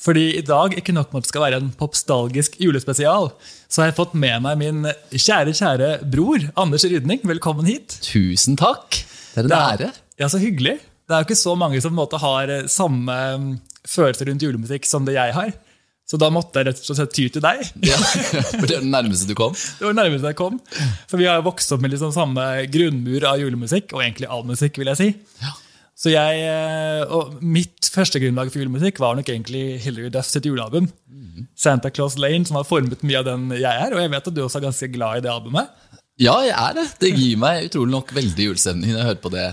Fordi i dag, ikke nok med at det skal være en popstalgisk julespesial, så har jeg fått med meg min kjære, kjære bror Anders Rydning. Velkommen hit. Tusen takk! Det er en ære. Ja, så hyggelig. Det er jo ikke så mange som på en måte har eh, samme mm, følelser rundt julemusikk som det jeg har. Så da måtte jeg rett og slett ty til deg. Ja, for det er det nærmeste du kom. Det var nærmest jeg kom. For vi har jo vokst opp med liksom samme grunnmur av julemusikk, og egentlig all musikk, vil jeg si. Så jeg, eh, og Mitt første grunnlag for julemusikk var nok egentlig Hilary Duff sitt julealbum. Santa Claus Lane, som har formet mye av den jeg er. Og jeg vet at du også er ganske glad i det albumet. Ja, jeg er det. Det gir meg utrolig nok veldig julestemning når jeg hører på det.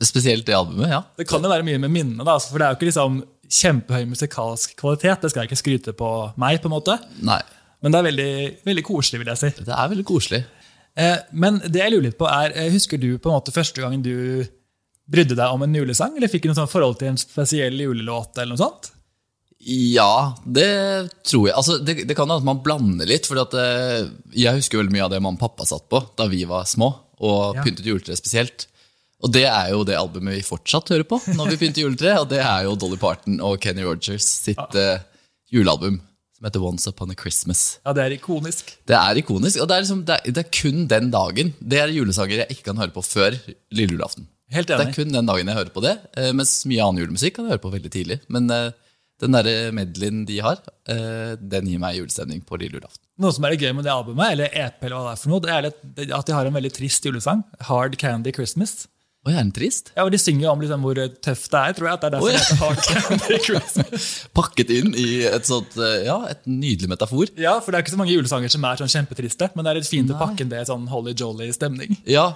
Spesielt det albumet, ja. Det kan jo være mye med minnet, da, for det er jo ikke liksom kjempehøy musikalsk kvalitet. Det skal jeg ikke skryte på meg, på en måte. Nei, Men det er veldig, veldig koselig, vil jeg si. det er veldig koselig. Eh, Men det jeg lurer litt på er, eh, husker du på en måte første gangen du brydde deg om en julesang, eller fikk du noe sånn forhold til en spesiell julelåt, eller noe sånt? Ja, det tror jeg. Altså, det, det kan hende at man blander litt. For jeg husker veldig mye av det mamma og pappa satt på da vi var små, og Ja. pyntet juletre spesielt. Og det er jo det albumet vi fortsatt hører på når vi pynter juletre. Og det er jo Dolly Parton og Kenny Rogers sitt eh, julealbum som heter Once Upon a Christmas. Ja, det er ikonisk. Det er ikonisk, og det er, liksom, det er, det er kun den dagen. Det er julesanger jeg ikke kan høre på før lille julaften. Helt Det er enig. kun den dagen jeg hører på det, eh, mens mye annen julemusikk kan jeg høre på veldig tidlig. Men eh, den derre medleyen de har, eh, den gir meg julestemning på lille julaften. Noe som er gøy med det albumet, eller EP, eller hva det er for noe, det er litt- at de har en veldig trist julesang, Hard Candy Christmas. Å, jeg er den trist? Ja, og De synger jo om liksom hvor tøft det er, tror jeg. at det er derfor Oi. det heter Hard Candy Christmas. Pakket inn i et sånt, eh, ja, et nydelig metafor. Ja, for Det er ikke så mange julesanger som er sånn kjempetriste, men det er litt fint å pakke inn det i sånn Holly Jolly-stemning. Ja,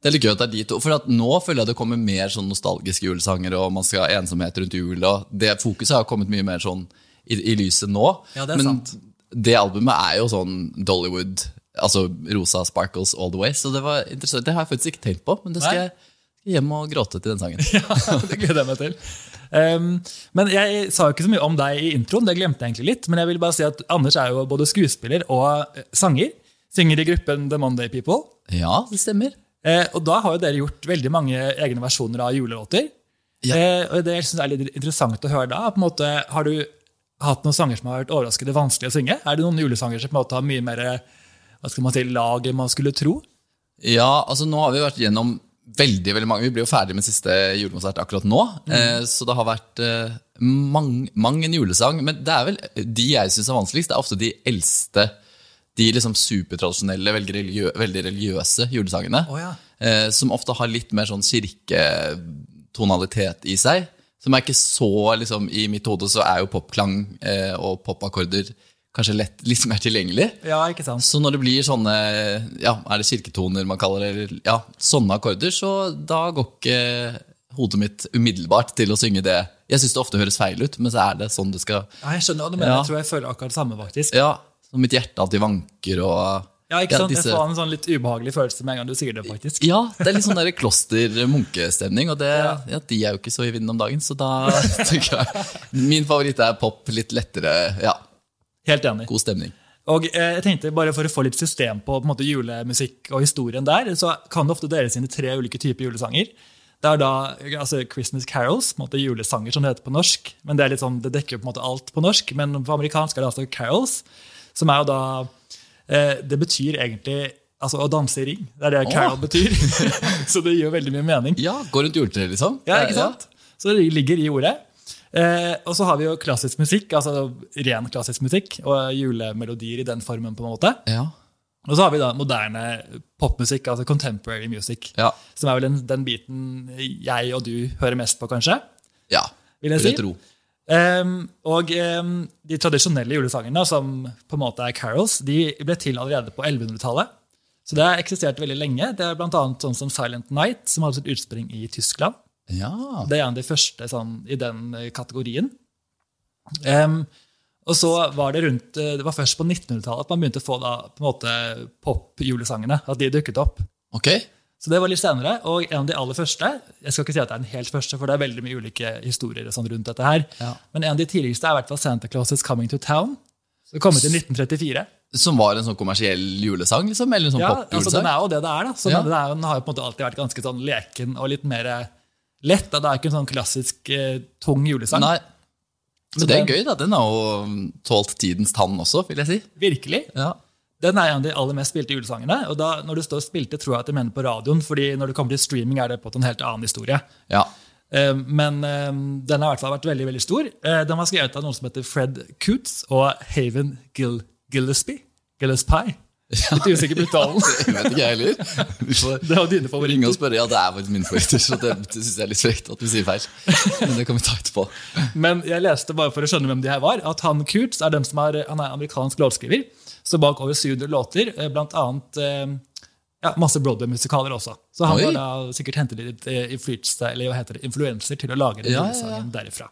det er litt gøy at det er de to. For at nå føler jeg det kommer mer sånn nostalgiske julesanger, og man skal ha ensomhet rundt jul. Og det fokuset har kommet mye mer sånn i, i lyset nå. Ja, det er Men sant. det albumet er jo sånn Dollywood, altså rosa sparkles all the way. Så det var interessant. Det har jeg faktisk ikke tenkt på, men det skal Nei. jeg hjem og gråte til den sangen. det gleder jeg meg til. Um, men Jeg sa jo ikke så mye om deg i introen, det glemte jeg egentlig litt. Men jeg vil bare si at Anders er jo både skuespiller og eh, sanger. Synger i gruppen The Monday People. Ja, det stemmer. Eh, og da har jo dere gjort veldig mange egne versjoner av julelåter. Ja. Eh, og det jeg synes er litt interessant å høre da, er på en måte, har du hatt noen sanger som har vært overraskende vanskelig å synge? Er det noen julesanger som på en måte har mye mer hva skal man si, lag enn man skulle tro? Ja, altså nå har vi vært gjennom veldig, veldig mange. Vi blir jo ferdig med siste julekonsert akkurat nå. Mm. Eh, så det har vært eh, mang, mang en julesang. Men det er vel de jeg syns er vanskeligst. Det er ofte de eldste, de liksom supertradisjonelle, veldig, religiø veldig religiøse julesangene. Å ja. eh, som ofte har litt mer sånn kirketonalitet i seg. Som er ikke så liksom, I mitt hode så er jo popklang eh, og popakkorder kanskje lett, litt mer tilgjengelig. Ja, ikke sant? Så når det blir sånne ja, er det kirketoner man kaller det, eller ja, sånne akkorder, så da går ikke hodet mitt umiddelbart til å synge det. Jeg syns det ofte høres feil ut, men så er det sånn det skal Ja, jeg skjønner hva du mener. Ja. Jeg tror jeg føler akkurat det samme, faktisk. Ja, så mitt hjerte alltid vanker og Ja, ikke sant? disse- Jeg får en sånn litt ubehagelig følelse med en gang du sier det, faktisk. ja, det er litt sånn der kloster-munkestemning, og det, ja. de er jo ikke så i vinden om dagen, så da tenker jeg Min favoritt er pop, litt lettere, ja, Helt enig. god stemning. Og eh, jeg tenkte bare For å få litt system på, på en måte, julemusikk og historien der, så kan det ofte dere sine tre ulike typer julesanger. Det er da eh, altså, Christmas carols, på en måte, julesanger som det heter på norsk. men Det er litt sånn, det dekker jo på en måte alt på norsk, men på amerikansk er det altså carols. som er jo da, eh, Det betyr egentlig altså, å danse i ring. Det er det carol betyr. så det gir jo veldig mye mening. Ja, gå rundt juletreet, liksom. Ja, ikke sant? Så det ligger i ordet. Eh, og så har vi jo klassisk musikk, altså ren klassisk musikk, og julemelodier i den formen. på en måte. Ja, Og så har vi da moderne popmusikk, altså contemporary music, ja, som er vel den, den biten jeg og du hører mest på, kanskje. ja. vil jeg vil si. jeg tro. Ehm, og ehm, de tradisjonelle julesangene, som på en måte er carols, de ble til allerede på 1100-tallet. Så det har eksistert veldig lenge. Det er bl.a. sånn som Silent Night, som hadde sitt utspring i Tyskland. Ja. Det er en av de første sånn, i den eh, kategorien. Em, og så var det rundt, eh, det var først på 1900-tallet at man begynte å få da, på en måte pop-julesangene. At de dukket opp. Ok. Så det var litt senere, og en av de aller første Jeg skal ikke si at det er den helt første, for det er veldig mye ulike historier og sånn rundt dette her. Ja. Men en av de tidligste er i hvert fall Santa Claus is Coming to Town. Det kom ut i 1934. Som var en sånn kommersiell julesang, liksom? Eller en sånn Ja, altså popjulesang? Den er jo det det er. da. Så Ja. den, er jo- den har jo på en måte alltid vært ganske sånn leken og litt mer eh, lett. da. Det er ikke en sånn klassisk eh, tung julesang. Nei. Men Så det er den- gøy, da. Den har jo mm, tålt tidens tann også, vil jeg si. Virkelig. Ja. Den er en av de aller mest spilte julesangene. Og da, når du står og spilte, tror jeg at de mener på radioen, fordi når det kommer til streaming, er det på en helt annen historie. ja. Eh, Men eh, den har i hvert fall vært veldig veldig stor. Eh, Den var skrevet av noen som heter Fred Coots og Haven Gil Gillespie. Gillespie. Litt usikker på uttalen. Jeg vet ikke, jeg heller. Vi får Det var dine favoritter. ringe og spørre. Ja, det er faktisk min favoritter, så det, det syns jeg er litt frekt at vi sier feil. Men det kan vi ta etterpå. Men jeg leste bare for å skjønne hvem de her var, at han Kurtz er den som er, han er amerikansk låtskriver. Så bak over 700 låter, eh, blant annet eh, ja, masse Broadway-musikaler også. Så han Oi. var da sikkert hentet litt eh, innflytelse, eller hva heter det, influenser til å lage den Ja, ja, julesangen derifra.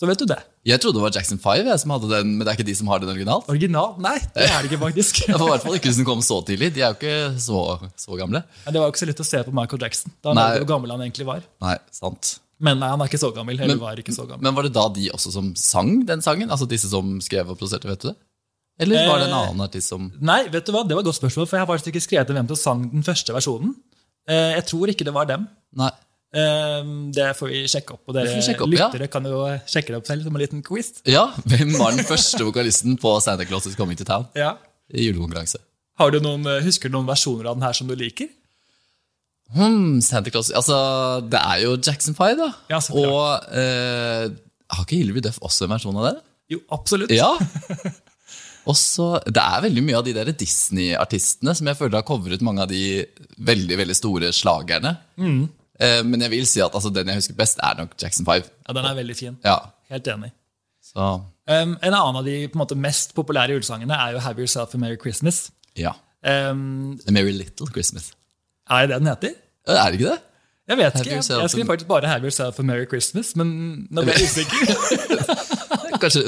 Så vet du det. Jeg trodde det var Jackson 5 jeg, som hadde den, men det er ikke de som har den originalt. Original? Nei, det er det ikke faktisk. Det var i hvert fall ikke hvis den kom så tidlig. De er jo ikke så, så gamle. Men det var jo ikke så lett å se på Michael Jackson, da han Nei. lærte hvor gammel han egentlig var. Nei, sant. Men nei, han er ikke så gammel. eller Men- var ikke så gammel. Men var det da de også som sang den sangen? Altså disse som skrev og produserte, vet du det? Eller var det en Eh, annen artist som Nei, vet du hva? det var et godt spørsmål, for jeg har faktisk ikke skrevet hvem som sang den første versjonen. Eh, Jeg tror ikke det var dem. Nei. Eh, Det får vi sjekke opp. Og Det dere får vi sjekke opp, ja. lyttere kan jo eh, sjekke det opp selv som en liten quiz. Ja, hvem var den første vokalisten på Santa Claus is Coming to Town Ja. i julekonkurranse? Har du noen, eh, husker du noen versjoner av den her som du liker? Hmm, Santa Claus Altså, det er jo Jackson 5, da. Ja, så klart. og eh, har ikke Hillary Duff også en versjon av det? Jo, absolutt. Ja. Og så, Det er veldig mye av de der Disney-artistene som jeg føler har covret mange av de veldig veldig store slagerne. Eh, men jeg vil si at altså, den jeg husker best, er nok Jackson 5. Ja, Den er veldig fin. Ja, Helt enig. så, Um, en annen av de på en måte, mest populære julesangene er jo 'Have Yourself a Merry Christmas'. ja. Um, A Merry Little Christmas. er det det den heter? Eh, Er det ikke det? Jeg vet ikke. Jeg, Yourself jeg skriver a- faktisk bare 'Have Yourself a Merry Christmas', men nå ble jeg usikker. Kanskje,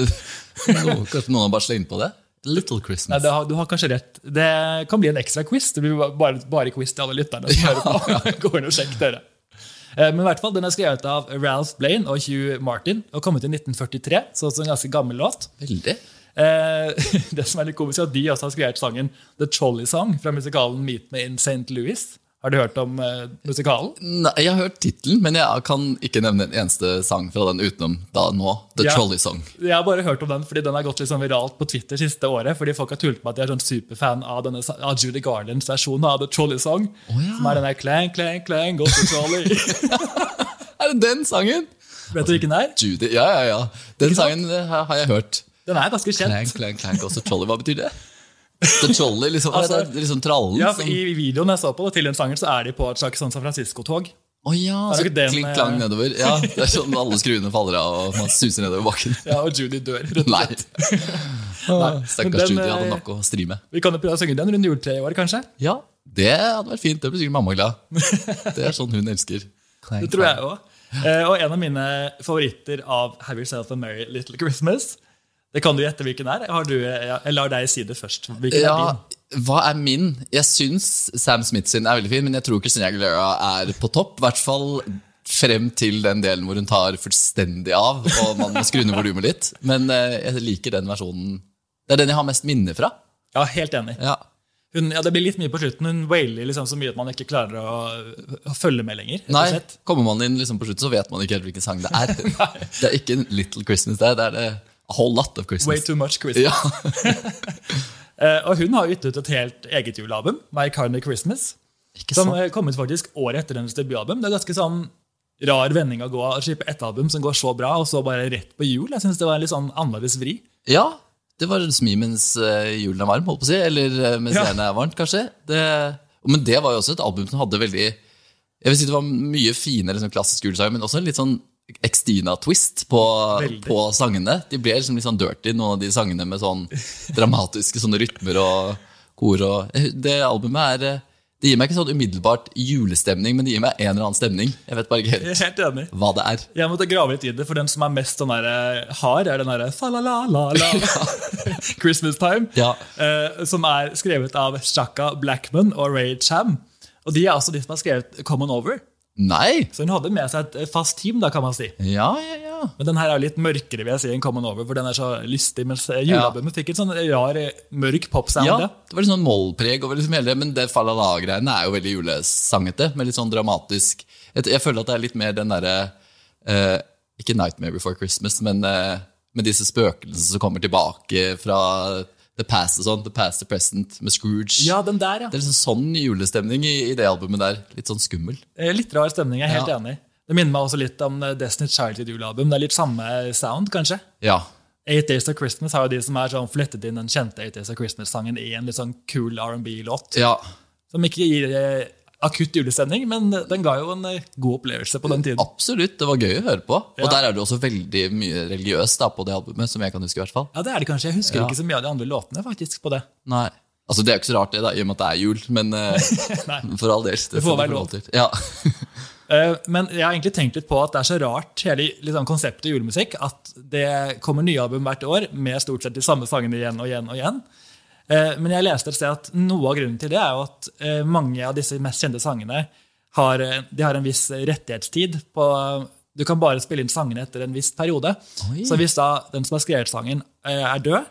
noen, kanskje noen har bare slengt på det? Little Nei, Christmas. det har, du har kanskje rett. Det kan bli en ekstra quiz. Det blir ba- bare, bare quiz til alle lytterne. som hører på. Gå inn og sjekk dere. Eh, Men i hvert fall, Den er skrevet av Ralph Blaine og Hugh Martin og kom ut i 1943. Så også en ganske gammel låt. Veldig. Eh, Det som er litt komisk, er at de også har skrevet sangen The Trolley Song fra musikalen Meet Me in St. Louis. Har du hørt om eh, musikalen? Nei, jeg har hørt tittelen, men jeg kan ikke nevne en eneste sang fra den utenom da nå. The Ja. Trolley Song. Jeg har bare hørt om den fordi den har gått litt sånn viralt på Twitter siste året. Fordi folk har tult på at de er sånn superfan av, denne, sa- av Judy Garlands versjon av The Trolley Song. ja. Som er den der klang, klang, klang, go to trolley. Er det den sangen? Vet du hvilken det er? Judy, ja, ja, ja. Den sangen eh, har har jeg hørt. Den er ganske Klang, kjent. klang, klang, også trolley. Hva betyr det? The trolley, liksom, altså, Altså- det er liksom trallen Ja, for som... I videoen jeg så på det, til den sangen så er de på et slags sånn San Francisco-tog. Å ja, det så ikke den, kling, eh? klang nedover. Ja, det er sånn alle skruene faller av, og man suser nedover bakken. Ja, og Judy dør. rett og Nei. slett. Nei, Men den, Stakkars Judy hadde eh, nok å stri med. Vi kan jo prøve å synge den rundt juletreet i år, kanskje? Ja, det hadde vært fint. Det blir sikkert mamma glad. Det er sånn hun elsker. Det tror jeg òg. Og en av mine favoritter av Have Yourself a Merry Little Christmas. Det kan du gjette hvilken er. Har du, eh, jeg lar deg si det først. Hvilken Ja, er din? hva er min? Jeg syns Sam Smith sin er veldig fin, men jeg tror Christina Aguilera er på topp. I hvert fall frem til den delen hvor hun tar fullstendig av, og man må skru ned volumet litt. Men eh, jeg liker den versjonen. Det er den jeg har mest minner fra. Ja, helt enig. Ja, Hun, ja, det blir litt mye på slutten. Hun wailer liksom så mye at man ikke klarer å, å følge med lenger. rett og Nei, slett. kommer man inn liksom på slutt, så vet man ikke helt hvilken sang det er. Det er ikke en Little Christmas, det er, det er det A Whole Lot of Way Christmas. too much Christmas. Ja, Eh, og hun har gitt ut et helt eget julealbum, My Carney Christmas, ikke som sant? eh, kom ut faktisk året etter hennes debutalbum. Det er ganske sånn rar vending å gå av å slippe ett album som går så bra, og så bare rett på jul. Jeg synes det var en litt sånn annerledes vri. Ja, det var smi mens eh, julen er varm, holdt på å si. Eller eh, mens Ja. jernet er varmt, kanskje. Det, men det var jo også et album som hadde veldig Jeg vil si det var mye fine liksom, klassiske julesanger, men også en litt sånn Extina-twist på, Veldig. på sangene. De ble liksom litt sånn dirty, noen av de sangene med sånn dramatiske sånne rytmer og kor. Og, Jeg hu- det albumet er eh, Det gir meg ikke sånn umiddelbart julestemning, men det gir meg en eller annen stemning. Jeg vet bare ikke Jeg helt er helt enig. hva det er. Jeg måtte grave litt i det, for den som er mest sånn der, eh, hard, er den derre fa-la-la-la-la Christmas Time, Ja. eh, som er skrevet av Shaka Blackman og Ray Cham. Og de er også de som har skrevet Come On Over. Nei! Så hun hadde med seg et eh, fast team, da, kan man si. Ja, ja, ja. Men den her er jo litt mørkere, vil jeg si, enn Come On Over, for den er så lystig. Mens eh, julealbumet fikk et sånn rar, eh, mørk popsound. Ja, Ja. det var litt sånn mollpreg over liksom hele Men det falala-greiene er jo veldig julesangete, men litt sånn dramatisk. Jeg, jeg føler at det er litt mer den derre eh, Ikke Nightmare Before Christmas, men eh, med disse spøkelsene som kommer tilbake fra The Past og sånn. The Past the Present med Scrooge. ja, den der, ja. Det er liksom sånn julestemning i, i det albumet der. Litt sånn skummel. Eh, Litt rar stemning, jeg er helt Ja. enig. Det minner meg også litt om eh, Destiny's Child sitt julealbum. Det er litt samme eh, sound, kanskje. Ja. Eight Days of Christmas har jo de som er sånn flettet inn den kjente Eight Days of Christmas-sangen i en litt sånn cool R&B-låt. ja. Som ikke gir eh, akutt julestemning, men den ga jo en eh, god opplevelse på den tiden. Absolutt. Det var gøy å høre på. Ja. Og der er det også veldig mye religiøst da, på det albumet, som jeg kan huske. i hvert fall. Ja, det er det kanskje. Jeg husker Ja. ikke så mye av de andre låtene faktisk på det. Nei. Altså, Det er jo ikke så rart, det, da, i og med at det er jul, men eh, Nei. for all del. får Det, får være du få lov. til. Ja. Eh, Men jeg har egentlig tenkt litt på at det er så rart, hele liksom, konseptet julemusikk, at det kommer nye album hvert år med stort sett de samme sangene igjen og igjen og igjen. Eh, Men jeg leste et sted at noe av grunnen til det er jo at eh, mange av disse mest kjente sangene har, eh, de har en viss rettighetstid på Du kan bare spille inn sangene etter en viss periode. Oi. Så hvis da den som har skrevet sangen, eh, er død,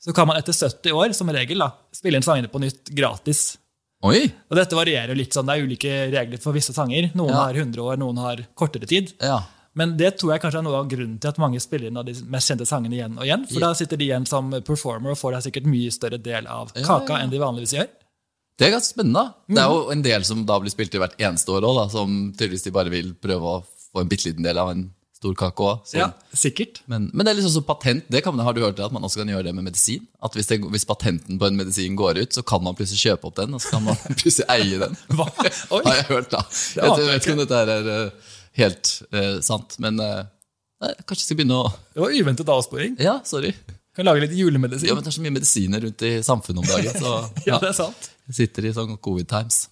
så kan man etter 70 år som regel da, spille inn sangene på nytt gratis. Oi! Og dette varierer jo litt sånn, Det er ulike regler for visse sanger. Noen Ja. har 100 år, noen har kortere tid. Ja. Men det tror jeg kanskje er noe av grunnen til at mange spiller inn av de mest kjente sangene igjen og igjen. For Ja. da sitter de igjen som performer og får deg sikkert mye større del av Ja, kaka ja. enn de vanligvis gjør. Det er ganske spennende. da. Det Mhm. er jo en del som da blir spilt i hvert eneste år òg, som tydeligvis de bare vil prøve å få en bitte liten del av en stor kake òg. Ja, sikkert. Men, men det er liksom så patent, det kan man, har du hørt det, at man også kan gjøre det med medisin? At hvis, det, hvis patenten på en medisin går ut, så kan man plutselig kjøpe opp den, og så kan man plutselig eie den. Hva? Oi. Har jeg hørt, da. Jeg aner vet, jeg jeg vet ikke om dette her er eh, helt eh, sant, men eh, nei, kanskje jeg skal begynne å Det var uventet avsporing. Ja, sorry. Kan lage litt Ja, julemedisin. men Det er så mye medisiner rundt i samfunnet om dagen, så Ja, ja, det er sant. jeg sitter i sånn covid times.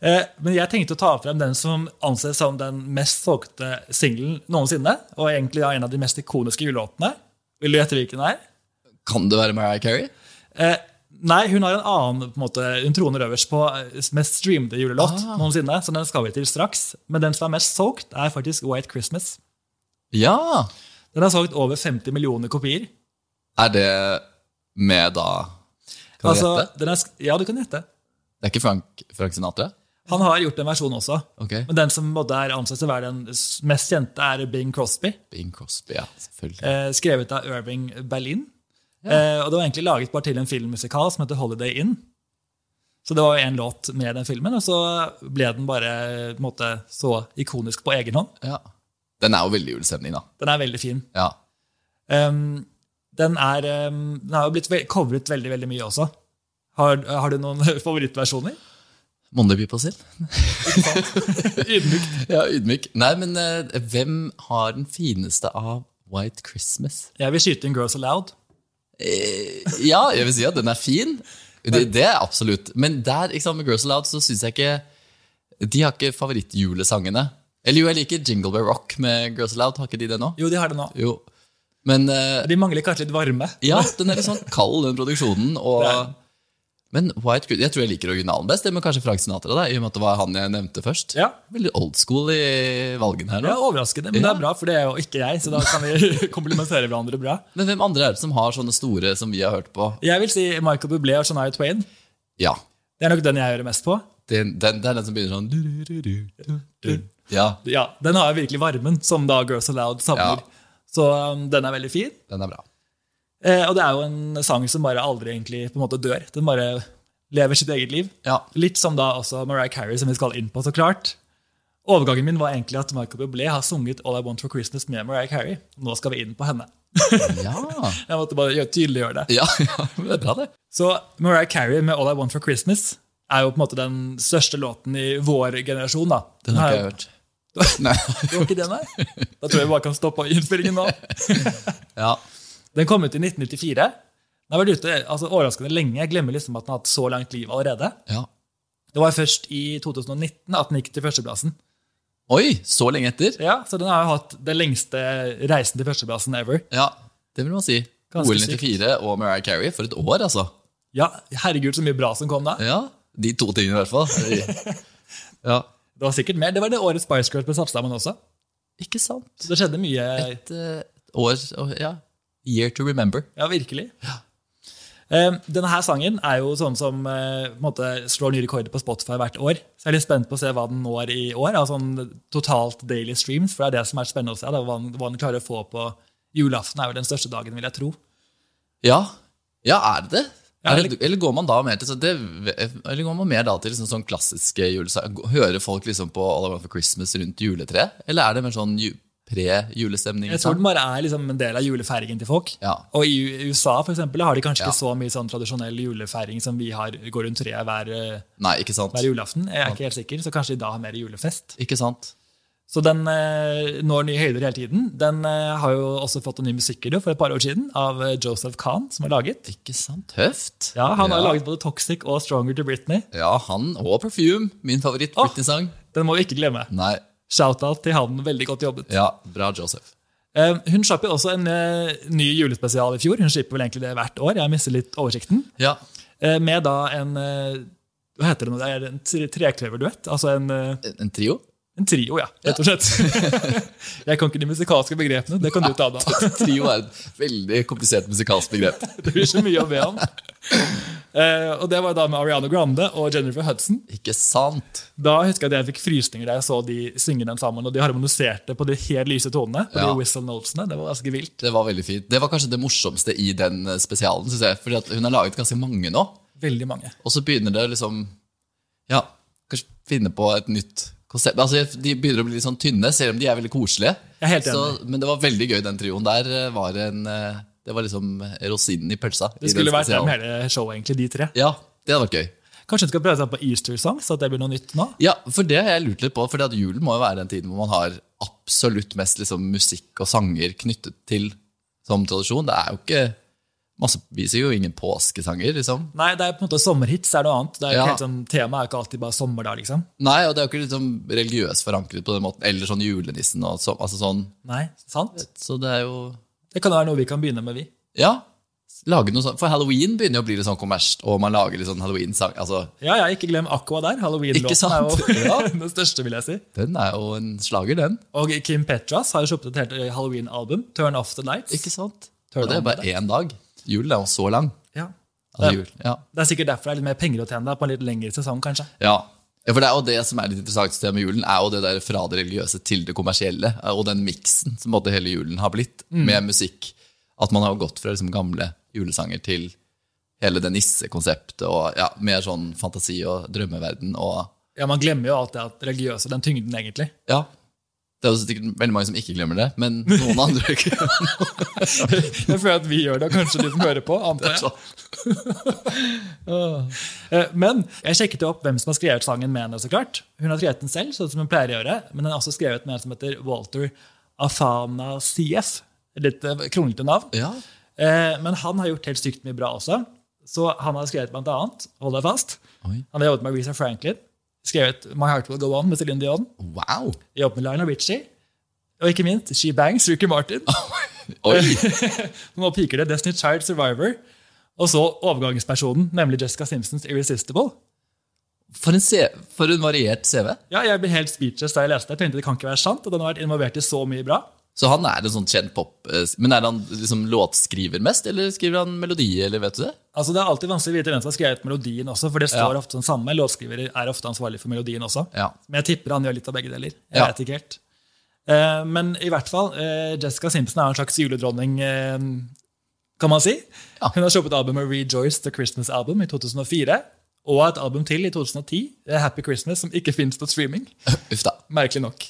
Eh, Men jeg tenkte å ta frem den som anses som den mest solgte singelen noensinne. Og egentlig da en av de mest ikoniske julelåtene. Vil du gjette hvilken det er? Kan det være Mariah Carey? Eh, nei, hun har en annen på en måte, Hun troner øverst på eh, mest streamede julelåt Ah. noensinne. Så den skal vi til straks. Men den som er mest solgt, er faktisk White Christmas. Ja! Den har solgt over 50 millioner kopier. Er det med da Kan Altså, du gjette? den er, sk- ja, du kan gjette. Det er ikke Frank, Frank Sinatra? Han har gjort en versjon også. Ok. Men den som på en måte, er ansett til å være den s- mest kjente, er Bing Crosby. Bing Crosby, ja. Selvfølgelig. Eh, skrevet av Irving Berlin. Eh, og det var egentlig laget bare til en filmmusikal som heter Holiday Inn. Så det var jo én låt med den filmen, og så ble den bare på en måte, så ikonisk på egen hånd. Ja. Den er jo veldig julestemning, da. Den er veldig fin. Ja. Ehm, den, er, ehm, den har jo blitt ve covret veldig veldig mye også. Har, har du noen favorittversjoner? Mon det by på sild? Ydmykt. Ja, ydmyk. Nei, men eh, hvem har den fineste av White Christmas? Jeg vil skyte inn Girls Aloud. Eh, ja, jeg vil si at den er fin. Det, det er absolutt. Men der, ikke sant, med Girls Aloud, så syns jeg ikke De har ikke favorittjulesangene. Eller jo, jeg liker Jingle Bell Rock med Girls Aloud. Har ikke de det nå? Jo, de har det nå. Jo. Men eh, De mangler kanskje litt varme. ja, den er litt sånn kald, den produksjonen. Og, Det er den. men White Christmas, Jeg tror jeg liker originalen best, det med kanskje Frank Sinatra, da, i og med at det var han jeg nevnte først. Ja. Veldig old school i valgen her Det nå. er overraskende, men det er bra, for det er jo ikke jeg. Så da kan vi komplementere hverandre bra. Men hvem andre er det som har sånne store som vi har hørt på? Jeg vil si Michael Bublé og Shania Twain. Ja, Det er nok den jeg hører mest på. den, den, det er den som begynner sånn du-du-du-du-du. Ja, Ja, Den har jo virkelig varmen, som da Girls Aloud savner. Ja. Så um, den er veldig fin. den er bra. Eh, og det er jo en sang som bare aldri egentlig på en måte dør. Den bare lever sitt eget liv. Ja, Litt som da også Mariah Carey, som vi skal inn på, så klart. Overgangen min var egentlig at Michael Bublé har sunget All I Want for Christmas med Mariah Carey. Nå skal vi inn på henne. ja. Jeg måtte bare gjøre- tydeliggjøre det. Ja, ja, men det er bra, det. Så Mariah Carey med All I Want for Christmas er jo på en måte den største låten i vår generasjon. da. Den har er ikke jo- jeg hørt. Nei. Det var ikke den her. Da tror jeg vi bare kan stoppe innspillingen nå. Ja. Den kom ut i 1994. Den har vært ute altså, overraskende lenge. Jeg glemmer liksom at den har hatt så langt liv allerede. ja. Det var først i 2019 at den gikk til førsteplassen. Oi, så lenge etter? Ja, Så den har jo hatt den lengste reisen til førsteplassen ever. Ja, det vil man si. Ganske OL 94 og Mariah Carey for et år, altså. Ja, herregud, så mye bra som kom da. Ja, De to tingene, i hvert fall. Ja. Det var sikkert mer. Det var det året Spice Girls ble satt sammen også. Ikke sant? Så det skjedde mye. Et eh, år og- Ja. Year to remember. Ja, virkelig. Eh, Denne her sangen er jo sånn som eh, på en måte, slår nye rekorder på Spotify hvert år. Så jeg er litt spent på å se hva den når i år. Altså sånn totalt daily streams, for det er det som er spennende å se. Da, hva, den, hva den klarer å få på julaften, er vel den største dagen, vil jeg tro. Ja, ja er det det? Ja, eller, eller går man da mer til, så det, eh, eller går man mer da til liksom sånn klassiske julesanger? Hører folk liksom på All I Want for Christmas rundt juletreet? Eller er det mer sånn ju, pre-julestemning? Jeg tror den bare er liksom en del av julefeiringen til folk. Ja. Og i U- USA for eksempel, har de kanskje Ja. ikke så mye sånn tradisjonell julefeiring som vi har, går rundt treet hver, eh, Nei, ikke sant? hver julaften. Jeg er ikke helt sikker, så kanskje de da har mer julefest. Ikke sant? Så den eh, når nye høyder hele tiden. Den eh, har jo også fått en ny musikkvideo for et par år siden av eh, Joseph Kahn, som har laget. Ikke sant? Høft? Ja, Han har ja. jo laget både Toxic og Stronger to Britney. Ja, han og Perfume, min favoritt Åh. Britney-sang. Den må vi ikke glemme. Nei, Shout-out til han, veldig godt jobbet. ja, bra Joseph. Eh, hun slapp jo også en eh, ny julespesial i fjor. Hun slipper vel egentlig det hvert år. Jeg mister litt oversikten. Ja, Eh, med da en eh, Hva heter det nå? Det er en tre- trekløverduett? Altså en, eh, en en trio? en trio, ja. Rett og slett. jeg kan ikke de musikalske begrepene. Det kan du ta, da. trio er et veldig komplisert musikalsk begrep. Det blir så mye å be om. Eh, og det var da med Ariana Grande og Jennifer Hudson. Ikke sant? Da husker jeg at jeg fikk frysninger da jeg så de synge den sammen. Og de harmoniserte på de helt lyse tonene. På Ja. de whistle notesene. Det var ganske vilt. Det var veldig fint. Det var kanskje det morsomste i den eh, spesialen, synes jeg. Fordi at hun har laget ganske mange nå. Veldig mange. Og så begynner det liksom Ja, kanskje finne på et nytt konsept. Altså, De begynner å bli litt sånn tynne, selv om de er veldig koselige. Jeg er helt Så, men det var veldig gøy, den trioen der. eh, Var en, eh, det var liksom rosinen i pølsa. i Det den skulle vært spesialen. dem hele showet, egentlig, de tre. Ja, det hadde vært gøy. Kanskje hun skal prøve seg på Easter Song, så at det blir noe nytt nå? Ja, for det har jeg lurt litt på, fordi at julen må jo være den tiden hvor man har absolutt mest liksom, musikk og sanger knyttet til som tradisjon. Det er jo ikke masse, Vi sier jo ingen påskesanger, liksom. Nei, det er på en måte sommerhits, er noe annet. Det er jo Ja. ikke helt sånn, temaet er jo ikke alltid bare sommer da, liksom. Nei, og det er jo ikke liksom religiøst forankret på den måten. Eller sånn julenissen og så, altså sånn. Nei, sant? Så det er jo Det kan jo være noe vi kan begynne med, vi. Ja. Lage noe sånt. For halloween begynner jo å bli litt sånn kommersielt, og man lager litt sånn halloween-sang. Altså, Ja, ja, ikke glem Aqua der. Ikke Halloween-låten er sant? jo Ja. den største, vil jeg si. den er jo en slager, den. Og Kim Petras har jo sluppet et helt eh, Halloween-album, Turn Off The Lights. Ikke sant? Turn og det on er bare én dag. Julen er jo så lang. Ja. Altså, Ja. jul. Ja. Det er sikkert derfor det er litt mer penger å tjene da, på en litt lengre sesong, kanskje. ja. Ja, for Det er jo det som er litt interessant sted med julen, er jo det der fra det religiøse til det kommersielle. Og den miksen som på en måte hele julen har blitt, med musikk. At man har gått fra liksom gamle julesanger til hele det nissekonseptet, og ja, mer sånn fantasi og drømmeverden. og Ja, Man glemmer jo alt det at religiøse, den tyngden, egentlig. Ja. Det er jo sikkert veldig mange som ikke glemmer det, men noen andre ikke. Jeg føler at vi gjør det, og kanskje de som hører på. antar jeg. Eh, Men jeg sjekket jo opp hvem som har skrevet sangen med henne. så klart. Hun har skrevet den selv, sånn som hun pleier å gjøre, men hun har også skrevet med en som heter Walter Afana CF. Litt eh, kronglete navn. Ja. Eh, Men han har gjort helt sykt mye bra også. Så han har skrevet blant annet, hold deg fast, Oi. han har jobbet med Reza Franklin, skrevet My Heart Will Go On med Celine Dion, Wow! jobbet med Lionel Richie, og ikke minst She Bangs, Ricky Martin. Oi. Nå piker det Destiny Child Survivor. Og så overgangspersonen, nemlig Jessica Simpsons Irresistible. For en, se- for en variert CV. Ja, Jeg ble helt speechless da jeg leste det. Jeg tenkte det kan ikke være sant, og den har vært involvert i så mye bra. Så han er en sånn kjent pop... eh, Men er han liksom låtskriver mest, eller skriver han melodier, eller vet du det? Altså, Det er alltid vanskelig å vite hvem som har skrevet melodien også, for det står Ja. ofte sånn samme. Låtskriver er ofte ansvarlig for melodien også. Ja. Men jeg tipper han gjør litt av begge deler. Jeg Ja. vet ikke helt. Eh, men i hvert fall, eh, Jessica Simpson er en slags juledronning, eh, kan man si. Ja. Hun har sluppet albumet Rejoice the Christmas Album i 2004. Og et album til i 2010, eh, Happy Christmas, som ikke fins på streaming. Uff da. Merkelig nok.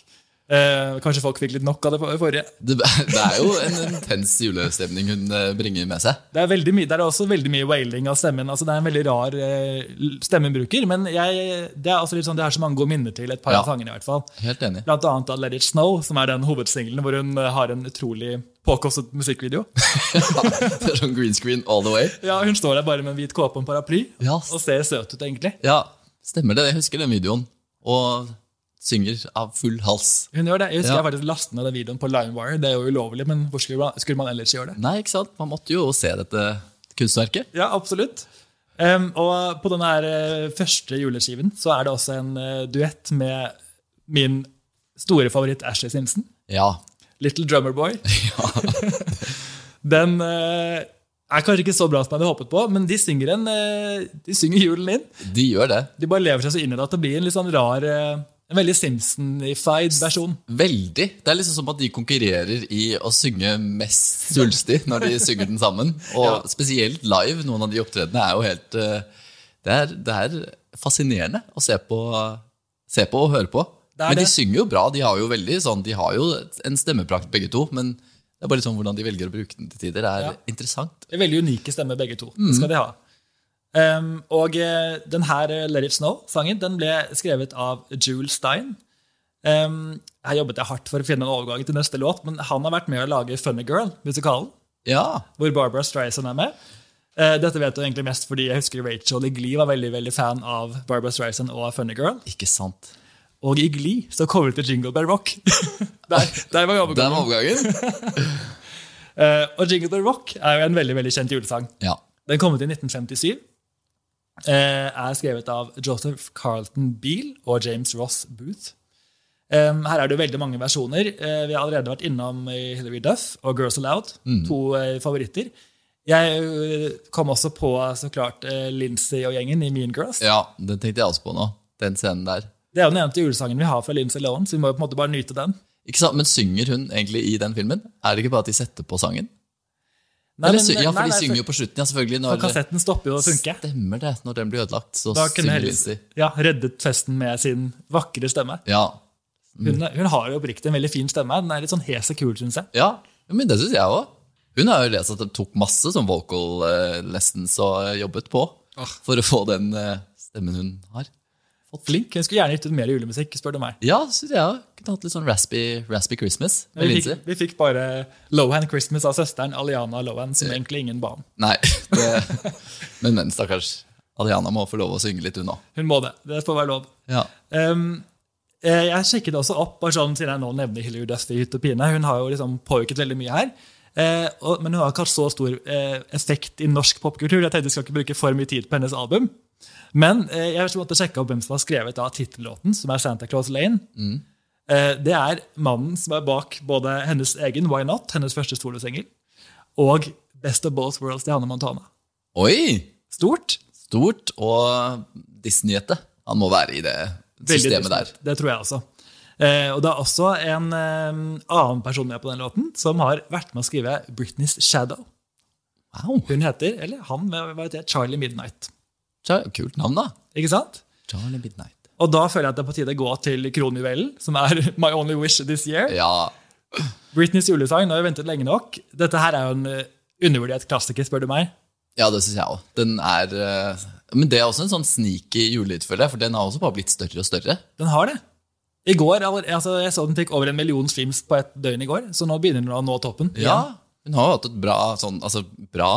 Eh, kanskje folk fikk litt nok av det for- forrige. Det, det er jo en intens julestemning hun eh, bringer med seg. Det er, veldig mye, det er også veldig mye wailing av stemmen. altså Det er en veldig rar eh, l- stemmebruker. Men jeg, det er også litt sånn, det er så mange gode minner til et par Ja. av sangene. i hvert fall. Helt enig. Blant annet da Let It Snow, som er den hovedsingelen hvor hun eh, har en utrolig påkostet musikkvideo. Det er sånn green screen all the way. Ja, Hun står der bare med en hvit kåpe og en paraply Ja, og ser søt ut, egentlig. ja, stemmer det. Jeg husker den videoen. Og synger av full hals. Hun gjør det. Jeg husker Ja. jeg faktisk lastet ned den videoen på LimeWire. Det er jo ulovlig, men hvor skulle man, skulle man ellers gjøre det? Nei, ikke sant? Man måtte jo se dette kunstverket. Ja, absolutt. Em, og på denne her eh, første juleskiven så er det også en eh, duett med min store favoritt Ashley Simpson, Ja. Little Drummer Boy. Den eh, er kanskje ikke så bra som jeg hadde håpet på, men de synger, en, eh, de synger julen inn. De gjør det. De bare lever seg så inn i det at det blir en litt sånn rar eh, En veldig Simpson-ified versjon. Veldig. Det er liksom som at de konkurrerer i å synge mest svulstig når de synger den sammen. Og spesielt live. Noen av de opptredenene er jo helt eh, Det er, det er fascinerende å se på, se på og høre på. Det er Men de det. synger jo bra. De har jo veldig sånn, de har jo en stemmeprakt, begge to. Men det er bare sånn hvordan de velger å bruke den til tider, er Ja. interessant. Det er Veldig unike stemmer, begge to. Det skal de ha. Em, og eh, den her eh, Let It Snow-sangen den ble skrevet av Jules Stein. Em, her jobbet jeg hardt for å finne en overgang til neste låt, men han har vært med å lage Funny Girl, musikalen, Ja. hvor Barbara Streisand er med. Eh, dette vet jeg egentlig mest fordi jeg husker Rachel i Glee var veldig veldig fan av Barbara Streisand og Funny Girl. Ikke sant. Og i Glee så covret de Jingle Bell Rock. der, der var Det overgangen. er overgangen. Eh, og Jingle Bell Rock er jo en veldig, veldig kjent julesang. Ja. Den kom ut i 1957. Eh, er skrevet av Joseph Carlton Beale og James Ross Booth. Eh, her er det jo veldig mange versjoner. Eh, vi har allerede vært innom eh, Hilary Duff og Girls Aloud. Mm. To eh, favoritter. Jeg eh, kom også på så klart eh, Lindsay og gjengen i Mean Girls. ja. Den tenkte jeg også på nå. Den scenen der. Det er jo den eneste julesangen vi har fra Lindsay Lohan, så vi må jo på en måte bare nyte den. Ikke sant? Men synger hun egentlig i den filmen? Er det ikke bare at de setter på sangen? Nei, Eller men- sy- ja, for nei, de nei, synger jo på slutten, ja, selvfølgelig. Når, for Kassetten stopper jo å funke. Stemmer det, når den blir ødelagt, så Da kunne synger Hellis Lindsay. ja, reddet festen med sin vakre stemme. Ja. Hun, er- hun har jo oppriktig en veldig fin stemme. Den er litt sånn hes og kul, syns jeg. ja, men det syns jeg òg. Hun har jo lest at hun tok masse sånn vocal eh, lessons og eh, jobbet på for å få den eh, stemmen hun har. Flink. Hun skulle gjerne gitt ut mer julemusikk, spør du meg. Ja, syns jeg òg. Kunne hatt litt sånn raspy, raspy Christmas med Vi Lindsay. fikk, vi fikk bare Lohan Christmas av søsteren Aliana Lohan, som egentlig ingen ba om. Nei, det, men men, stakkars. Adriana må få lov å synge litt, hun òg. Hun må det. Det får være lov. Ja. Ehm, eh, jeg sjekket også opp, bare sånn siden jeg nå nevner Hilary Duff i hytt og pine. Hun har jo liksom påvirket veldig mye her. Eh, og, men hun har ikke hatt så stor eh, effekt i norsk popkultur. Jeg tenkte jeg skal ikke bruke for mye tid på hennes album. Men eh, jeg måtte sjekke opp hvem som har skrevet da tittellåten, som er Santa Claus Lane. Eh, det er mannen som er bak både hennes egen Why Not, hennes første solosingel, og Best of Both Worlds til Hanne Montana. Oi! Stort. stort og Disney-ete. Han må være i det Veldig systemet der. dystert. Det tror jeg også. Eh, og det er også en eh, annen person med på den låten som har vært med å skrive Britneys Shadow. Wow, Hun heter, eller han, hva hva heter det, Charlie Midnight. Char- Kult navn, da. Ikke sant? Charlie Midnight. Og da føler jeg at det er på tide å gå til kronjuvelen, som er My Only Wish This Year. Ja, Britneys julesang, nå har vi ventet lenge nok. Dette her er jo en eh, undervurdert klassiker, spør du meg. ja det syns jeg òg. Den er eh, Men det er også en sånn sneaky julelyd, føler jeg, for den har også bare blitt større og større. Den har det. I går, aller- altså Jeg så den fikk over en million streams på et døgn i går, så nå begynner den å nå toppen. Ja, Hun har jo hatt et bra sånn, altså bra,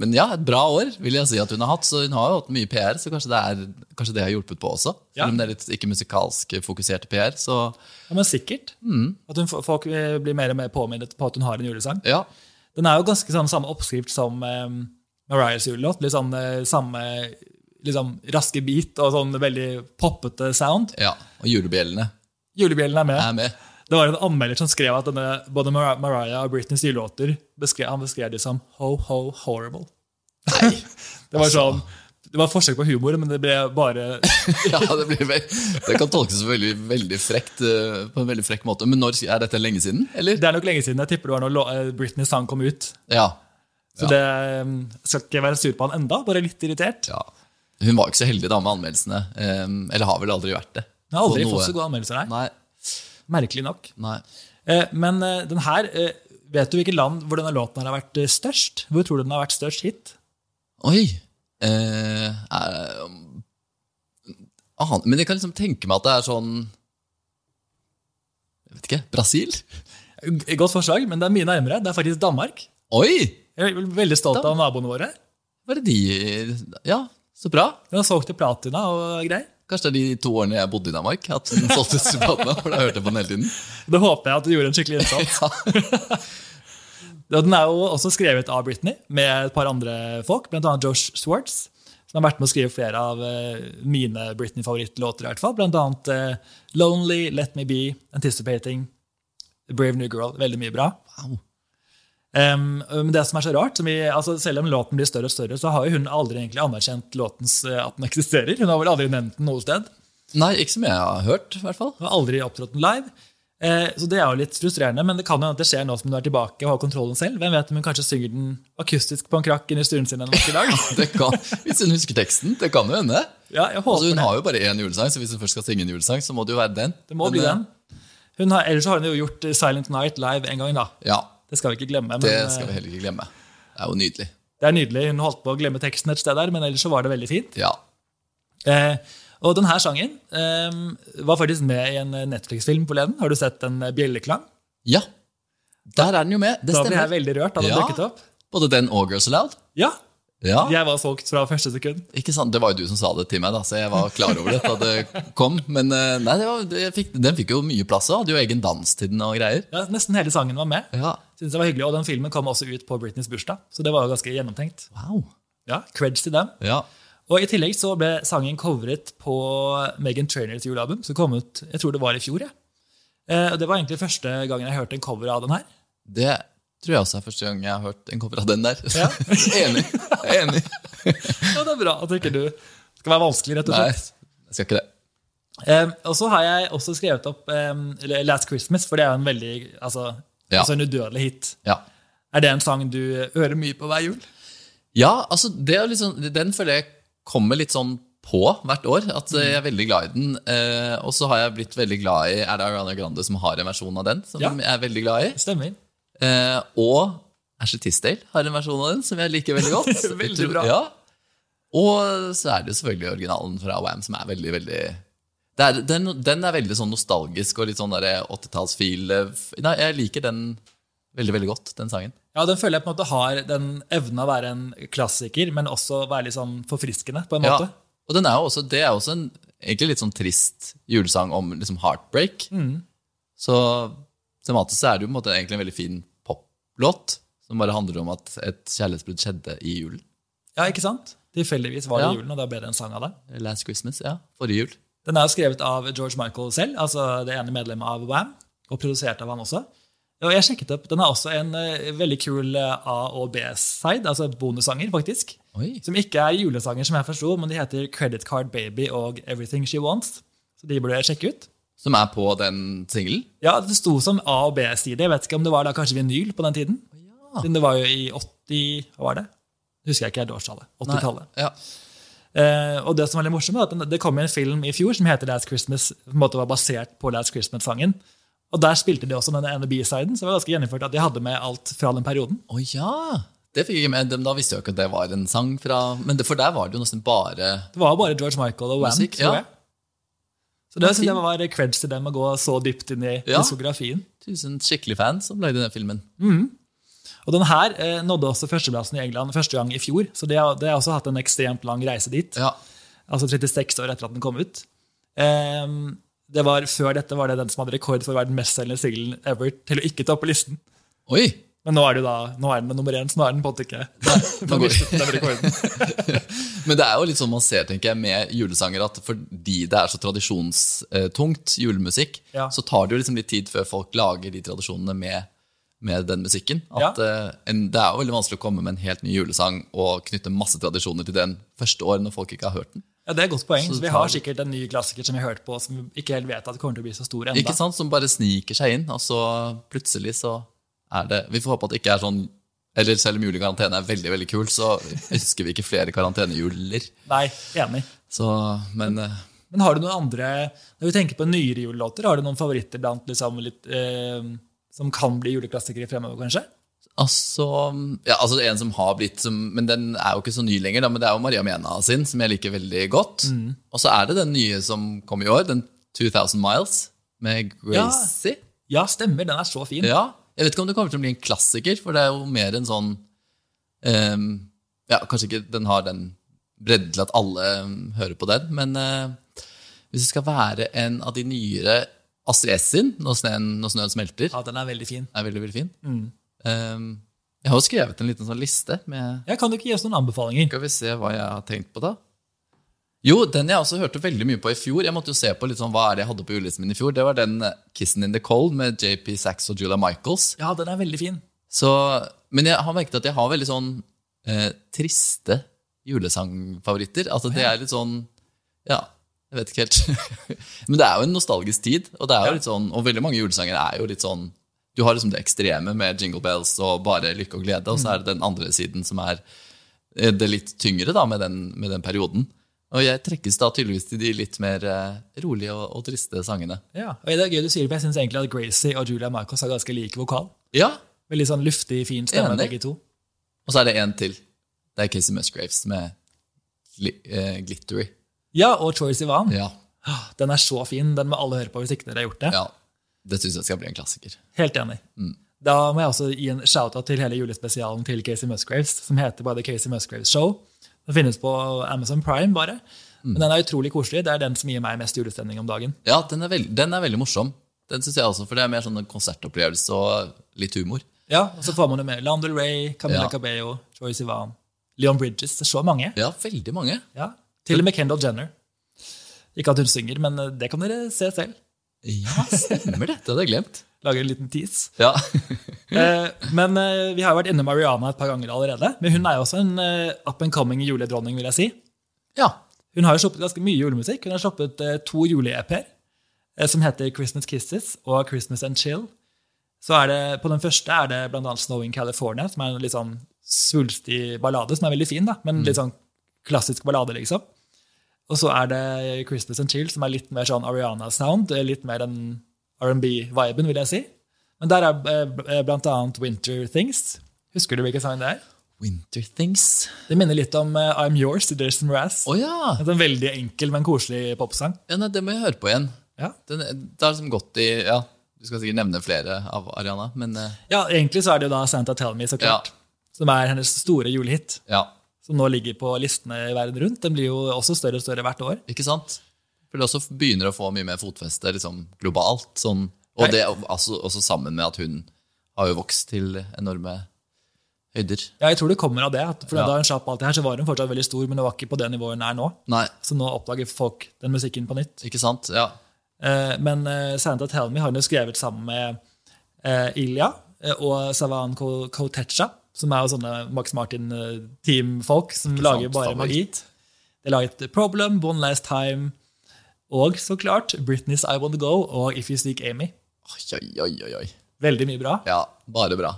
men ja, et bra år, vil jeg si at hun har hatt. Så hun har jo hatt mye PR, så kanskje det, er, kanskje det har hjulpet på også. Ja. Selv om det er litt ikke musikalsk fokusert PR, så Ja, men sikkert. Mm. At hun, folk eh, blir mer og mer påminnet på at hun har en julesang. ja. Den er jo ganske sånn samme oppskrift som eh, Mariahs julelåt. Litt sånn eh, samme liksom, raske beat og sånn veldig poppete sound. ja. Og julebjellene Julebjellen er med. er med. Det var en anmelder som skrev at denne, både Mar Mariah og Britneys julelåter beskrev, han beskrev de som ho-ho-horrible. Nei. Altså. Det var sånn, det var forsøk på humor, men det ble bare Ja, det, blir vel, det kan tolkes veldig, veldig frekt eh, på en veldig frekk måte. Men når, er dette lenge siden, eller? Det er nok lenge siden. Jeg tipper det var når lå- eh, Britneys sang kom ut. Ja. Så det eh, skal ikke være sur på han enda, bare litt irritert. ja. Hun var jo ikke så heldig da med anmeldelsene. eh, Eller har vel aldri vært det. Jeg har aldri På noe- fått så gode anmeldelser her. Nei, Merkelig nok. nei. Eh, Men eh, den her eh, Vet du hvilket land hvor denne låten her har vært eh, størst? Hvor tror du den har vært størst hit? Oi! Eh, er, aner- men jeg kan liksom tenke meg at det er sånn Jeg vet ikke. Brasil? G- Godt forslag, men det er mye nærmere. Det er faktisk Danmark. Oi! Jeg er veldig stolt av naboene våre. Var det de Ja, så bra. Den har solgt til platina og greier. Kanskje det er de to årene jeg bodde i Danmark. At den solgte subplaten, for da hørte jeg på den hele tiden. Det håper jeg at du gjorde en skikkelig innsats. Ja. Og Den er jo også skrevet av Britney med et par andre folk, bl.a. Josh Swartz, Som har vært med å skrive flere av eh, mine Britney-favorittlåter. i hvert fall, Blant annet eh, Lonely, Let Me Be, Anticipating, Brave New Girl. Veldig mye bra. Wow. Em, men det som er så rart, som vi, altså selv om låten blir større og større, så har jo hun aldri egentlig anerkjent låtens, eh, at den eksisterer. Hun har vel aldri nevnt den noe sted. Nei, ikke som jeg har hørt, i hvert fall. Hun har aldri opptrådt den live. Eh, så det er jo litt frustrerende, men det kan jo at det skjer nå som hun er tilbake og har kontrollen selv. Hvem vet om hun kanskje synger den akustisk på en krakk inni stuen sin en vakker dag? Det kan, hvis hun husker teksten, det kan jo hende. Ja, jeg håper Altså, hun det. har jo bare én julesang, så hvis hun først skal synge en julesang, så må det jo være den. Det må Men, bli eh, den. Hun har, ellers så har hun jo gjort eh, Silent Night live en gang, da. eh, Ja, Det skal vi ikke glemme. Men Det eh, skal vi heller ikke glemme. Det er jo nydelig. det er nydelig. Hun holdt på å glemme teksten et sted der, men ellers så var det veldig fint. Ja. Eh, og denne sangen eh, var faktisk med i en eh, Netflix-film forleden. Har du sett en eh, bjelleklang? ja. Der er den jo med. Det Da ble jeg stemmer. veldig rørt da den Ja. dukket opp. Både den og Girls Aloud. Ja, Ja. jeg var solgt fra første sekund. Ikke sant? Det var jo du som sa det til meg, da, så jeg var klar over det da det kom. Men eh, nei, det var, det- jeg fikk, den fikk jo mye plass òg. Hadde jo egen dans til den og greier. Ja, nesten hele sangen var med. Ja, Synes det var hyggelig, Og den filmen kom også ut på Britneys bursdag, så det var jo ganske gjennomtenkt. wow. Ja, creds til dem. Ja, Og I tillegg så ble sangen covret på Megan Trainers julealbum, som kom ut jeg tror det var i fjor. Ja. Eh, og Det var egentlig første gangen jeg hørte en cover av den her. Det tror jeg også er første gang jeg har hørt en cover av den der. Ja. enig. enig. Og det er bra at ikke du skal være vanskelig, rett og Nei, slett. jeg skal ikke det. Eh, og så har jeg også skrevet opp eh, eller Last Christmas, for det er jo en veldig altså, Ja. altså en udødelig hit. Ja. Er det en sang du hører mye på hver jul? ja, altså det er jo litt sånn- Den føler jeg kommer litt sånn på hvert år. At Mm. eh, jeg er veldig glad i den. Eh, og så har jeg blitt veldig glad i Er det Ariana Grande som har en versjon av den? Som Ja. jeg er veldig glad i. Stemmer. Eh, og Asher Tisdale har en versjon av den som jeg liker veldig godt. Veldig Jeg tror- bra. Ja. Og så er det jo selvfølgelig originalen fra Wham som er veldig, veldig det er, den, den er veldig sånn nostalgisk og litt sånn der 80-tallsfeel. eh, f- Nei, jeg liker den veldig, veldig godt, den sangen. Ja, Den føler jeg på en måte har den evnen å være en klassiker, men også være litt sånn forfriskende. på en Ja. måte. Og den er jo også, det er jo også en egentlig litt sånn trist julesang om liksom heartbreak. Mm. Så tematisk så er det jo på en måte egentlig en veldig fin poplåt som bare handler om at et kjærlighetsbrudd skjedde i julen. Ja, ikke sant? Tilfeldigvis var det Ja. julen, og da ble det en sang av det. Last Christmas, ja. Forrige jul. Den er jo skrevet av George Michael selv, altså det ene medlemmet av Wham, og produsert av han også. Og jeg sjekket opp, Den har også en eh, veldig kul eh, A- og B-side, altså bonussanger, faktisk. Oi. Som ikke er julesanger, som jeg forsto, men de heter Credit Card Baby og Everything She Wants. Så de burde jeg sjekke ut. Som er på den singelen? Ja, Det sto som A- og B-side. Jeg vet ikke om det var da kanskje vinyl på den tiden. Siden det var jo i 80 Hva var det? Husker jeg ikke helt årstallet. 80-tallet. Ja. Eh, og det som er litt morsomt, er at den- det kom en film i fjor som heter Last Christmas, som på en måte var basert på Last Christmas-sangen. Og der spilte de også den ene B-siden, så det var ganske gjennomført at de hadde med alt fra den perioden. Å ja! Det fikk jeg ikke med. Dem, da visste jeg jo ikke at det var en sang fra Men det, for der var det jo nesten bare Det var bare George Michael og Wham, Musikk, tror ja. jeg. Så det Men synes jeg fin. var creds til dem å gå så dypt inn i Ja. diskografien. tusen skikkelige fans som lagde den filmen. Og den her eh, nådde også førsteplassen i England første gang i fjor, så det har, det har også hatt en ekstremt lang reise dit. Ja. Altså 36 år etter at den kom ut. Ehm, det var Før dette var det den som hadde rekord for å være den mestselgende singelen ever til å ikke toppe listen. Oi! Men nå er, det jo da, nå er den med nummer én, så nå er den på en måte ikke nå på går- listen over rekorden. Men det er jo litt sånn man ser tenker jeg, med julesanger at fordi det er så tradisjonstungt, julemusikk, Ja. så tar det jo liksom litt tid før folk lager de tradisjonene med, med den musikken. At, eh, en, det er jo veldig vanskelig å komme med en helt ny julesang og knytte masse tradisjoner til den første år når folk ikke har hørt den. Ja, Det er et godt poeng. Så Så vi tar har det- sikkert en ny klassiker som vi har hørt på, som vi ikke helt vet at kommer til å bli så stor ennå. Ikke sant? Som bare sniker seg inn, og så plutselig så er det Vi får håpe at det ikke er sånn Eller selv om julekarantene er veldig veldig kul, så ønsker vi ikke flere karantenejuler. Nei, enig. Så, men eh, Men har du noen andre Når vi tenker på nyere julelåter, har du noen favoritter blant liksom litt eh, som kan bli juleklassikere fremover, kanskje? altså Ja, altså en som har blitt som Men den er jo ikke så ny lenger, da, men det er jo Maria Mena sin, som jeg liker veldig godt. Og så er det den nye som kom i år, den 2000 Miles, med Gracie. Ja, stemmer. Den er så fin. Ja, jeg vet ikke om det kommer til å bli en klassiker, for det er jo mer en sånn ehm, Ja, kanskje ikke den har den bredden til at alle ehm, hører på den, men eh, hvis det skal være en av de nyere Astrid S sin, når snøen, når snøen smelter, Ja, den er veldig fin. er veldig, veldig fin. Ehm, jeg har jo skrevet en liten sånn liste med Ja, kan du ikke gi oss noen anbefalinger? Skal vi se hva jeg har tenkt på, da? Jo, den jeg også hørte veldig mye på i fjor. Jeg måtte jo se på litt sånn, hva er det jeg hadde på julelisten min i fjor. Det var den eh, 'Kissin' in the Cold med JP Sachs og Julia Michaels. Ja, den er veldig fin. Så, men jeg har merket at jeg har veldig sånn eh, triste julesangfavoritter. Altså det er litt sånn Ja, jeg vet ikke helt. men det er jo en nostalgisk tid, og det er jo litt sånn, og veldig mange julesanger er jo litt sånn Du har liksom det ekstreme med jingle bells og bare lykke og glede, og så er det den andre siden som er eh, det litt tyngre da, med den, med den perioden. Og jeg trekkes da tydeligvis til de litt mer eh, rolige og, og triste sangene. Ja, og Det er gøy du sier det, for jeg syns egentlig at Gracie og Julia Michaels har ganske lik vokal. Ja, Veldig sånn luftig, fin stemme, Enig. begge to. Og så er det en til. Det er Casey Musgraves med gli, eh, Glittery. Ja, og Troye Sivan. Ja, Ah, Den er så fin. Den må alle høre på hvis ikke dere har gjort det. ja. Mm. Det syns jeg skal bli en klassiker. Helt enig. Da må jeg også gi en shout-out til hele julespesialen til Casey Musgraves, som heter bare The Casey Musgraves Show. Den finnes på Amazon Prime, bare. Mm. Men den er utrolig koselig. Det er den som gir meg mest julestemning om dagen. Ja, den er, veld, den er veldig morsom. Den synes jeg også, For det er mer sånn en konsertopplevelse og litt humor. Ja, og Så får man jo med Landel Ray, Camilla Ja. Cabello, Troye Sivan, Leon Bridges. Det er så mange. Ja, veldig mange. Ja. Til og med Kendal Jenner. Ikke at hun synger, men eh, det kan dere se selv. Ja, stemmer det. Det hadde jeg glemt. Lager en liten tease. Ja, Eh, men eh, vi har jo vært inne Mariana et par ganger allerede. Men hun er jo også en eh, up and coming juledronning, vil jeg si. ja. Hun har jo sluppet ganske mye julemusikk. Hun har sluppet eh, to jule-EP-er eh, som heter Christmas Kisses og Christmas and Chill. Så er det, På den første er det bl.a. Snow in California, som er en litt sånn svulstig ballade, som er veldig fin, da, men litt sånn klassisk ballade, liksom. Og så er det Christmas and Chill, som er litt mer sånn Ariana-sound, eh, litt mer den R&B-viben, vil jeg si. Men der er eh, bl- eh, blant annet Winter Things. Husker du hvilken sang det er? Winter Things. Det minner litt om eh, I'm Yours til Jason Mraz. Å ja. Altså En veldig enkel, men koselig popsang. ja! Nei, det må jeg høre på igjen. Ja. Den, det har liksom gått i Ja, du skal sikkert nevne flere av Ariana, men eh, ja, egentlig så er det jo da Santa Tell Me, så klart. Som er hennes store julehit, ja. som nå ligger på listene i verden rundt. Den blir jo også større og større hvert år. Ikke sant? For det også begynner å få mye mer fotfeste liksom, globalt. Sånn. Og det er altså, også sammen med at hun har jo vokst til enorme høyder. Ja, jeg tror det kommer av det. At for Ja. Da hun slapp alt det her, så var hun fortsatt veldig stor, men hun var ikke på det nivået hun er nå. Nei, Så nå oppdager folk den musikken på nytt. ikke sant? Ja. Eh, Men eh, Santa Tell Me har hun jo skrevet sammen med eh, Ilja eh, og Savan Ko- Kotecha, som er jo sånne Max Martin-teamfolk som Ikke sant, lager bare magi. favoritt. De har laget Problem, One Last Time, og så klart Britney's I Wanna Go og If You Seek Amy. Oi, oi, oi, oi, oi. Veldig mye bra. Ja, bare bra.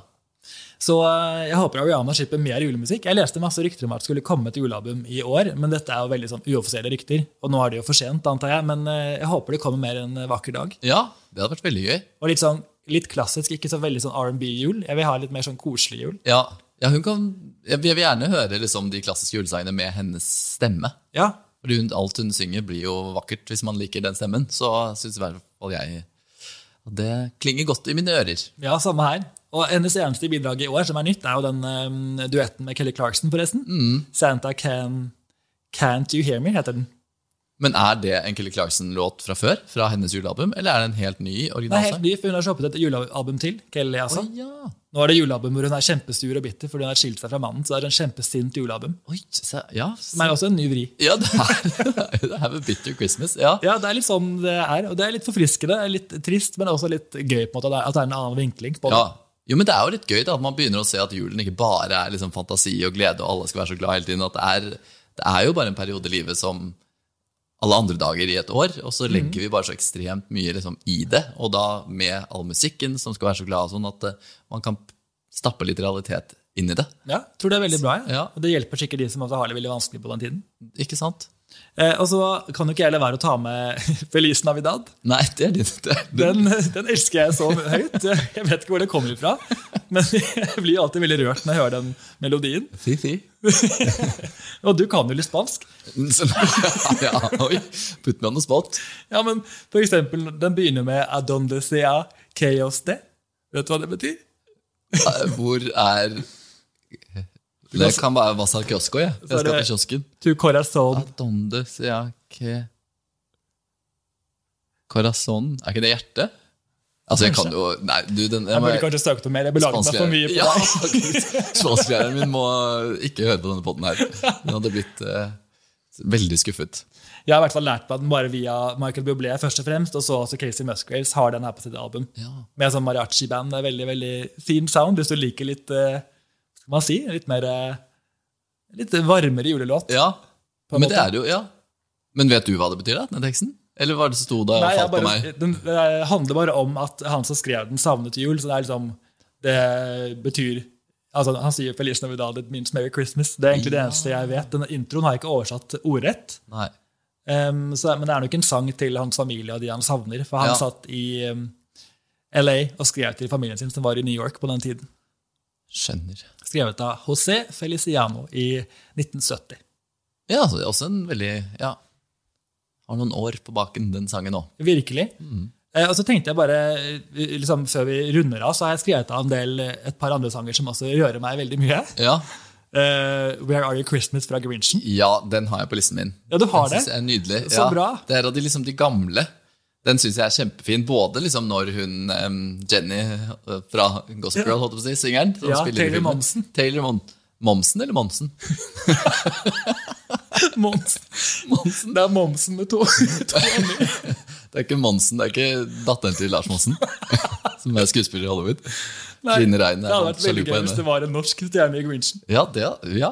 Så eh, jeg håper Ariana slipper mer julemusikk. Jeg leste masse rykter om at det skulle komme et julealbum i år, men dette er jo veldig sånn uoffisielle rykter. Og nå er det jo for sent, antar jeg, men eh, jeg håper det kommer mer en vakker dag. Ja, det hadde vært veldig gøy. Og litt sånn litt klassisk, ikke så veldig sånn R&B-jul. Jeg vil ha litt mer sånn koselig jul. Ja, ja hun kan Jeg jeg vil gjerne høre liksom, de klassiske julesangene med hennes stemme. Ja, Fordi hun, alt hun synger, blir jo vakkert hvis man liker den stemmen. Så syns i hvert fall jeg at det klinger godt i mine ører. ja samme her. Og hennes eneste bidrag i år som er nytt, er jo den eh, duetten med Kelly Clarkson, forresten. Santa Can Can't You Hear Me, heter den. Men er det en Kelly Clarkson-låt fra før? Fra hennes julealbum? Eller er det en helt ny Det er helt originalsang? ny, for hun har shoppet et julealbum til. Kelly, altså. Å, ja. Nå er det julealbum hvor hun er kjempestur og bitter fordi hun har skilt seg fra mannen. Så det er en kjempesint julealbum. Oi, se- ja. s- Men også en ny vri. ja, det er det er vel Bitter Christmas. Ja. Ja, det er litt sånn det er. Og det er litt forfriskende, det er litt trist, men også litt gøy på en måte. at det er- At det er en annen vinkling. på det. ja. Jo, men Det er jo litt gøy da, at man begynner å se at julen ikke bare er liksom fantasi og glede, og alle skal være så glad hele tiden. At det er, det er jo bare en periode i livet som alle andre dager i et år. Og så legger vi bare så ekstremt mye liksom, i det. Og da med all musikken som skal være så glad, og sånn at eh, man kan stappe litt realitet inn i det. Ja, tror det er veldig bra. jeg. Ja. Og det hjelper sikkert de som også har det veldig vanskelig på den tiden. Ikke sant? Eh, og så kan jo ikke jeg la være å ta med Feliz Navidad. Nei, det er ditt. Det er ditt. Den, den elsker jeg så høyt. Jeg vet ikke hvor det kommer ifra, men jeg blir alltid veldig rørt når jeg hører den melodien. Si, si. Og du kan jo litt spansk. Så- ja, oi, putt meg on the spot. Ja, men for eksempel, den begynner med Adonde sea chaos de. Vet du hva det betyr? Eh, Hvor er Det kan være Vasar Kiosko, jeg. Jeg Så er skal det- til kiosken. To corazon. Adonde siake Corazon Er ikke det hjertet? Altså, jeg kan jo Nei, du, den Jeg jeg må, burde kanskje søkt om mer. Jeg belaget meg for mye på ja, det. faktisk. Spansklæreren min må ikke høre på denne poden her. Den hadde blitt eh, Veldig skuffet. Jeg har i hvert fall lært meg den bare via Michael Bublé, først og fremst, og så også Casey Musgraves har den her på sitt album. Ja. Med sånn mariachi-band. Det er veldig veldig fin sound hvis du liker litt eh, hva skal man si, litt mer eh, Litt varmere julelåt. ja. en Men det måte. er det jo, ja. Men vet du hva det betyr, da, den teksten? Eller hva er det som sto da og Nei, jeg falt på bare, meg? den eh, handler bare om at han som skrev den, savnet jul. Så det er liksom Det betyr Altså, han sier 'Feliz Navidad, it means Merry Christmas'. Det er egentlig det eneste jeg vet. Denne introen har jeg ikke oversatt ordrett. Nei. Em, så, men det er nok en sang til hans familie og de han savner. For han Ja. satt i em, LA og skrev til familien sin, som var i New York på den tiden. Skjønner. Skrevet av José Feliciano i 1970. Ja, altså, også en veldig Ja. Har noen år på baken, den sangen òg. Virkelig. Eh, og så tenkte jeg bare, eh, liksom, Før vi runder av, så har jeg skrevet av en del, eh, et par andre sanger som også rører meg veldig mye. Ja. Eh, 'Where Are You Christmas' fra Grinchen. ja, den har jeg på listen min. Ja, du har den det? synes jeg er nydelig. Så bra. Det er av de, liksom, de gamle. Den syns jeg er kjempefin. Både liksom når hun em, Jenny eh, fra Gossip Girl, holdt jeg på å si, syngeren. som Ja, spiller i Taylor filmen. Momsen. Taylor Mon Momsen eller Monsen? Monsen. Det er Momsen med to. Det er ikke Monsen, det er ikke datteren til Lars Monsen, som er skuespiller i Hollywood. Nei, Trine Rein det sånn er hadde han vært veldig sjalu på gøy hvis henne. det var en norsk stjerne i Grinchen. Ja, det, ja,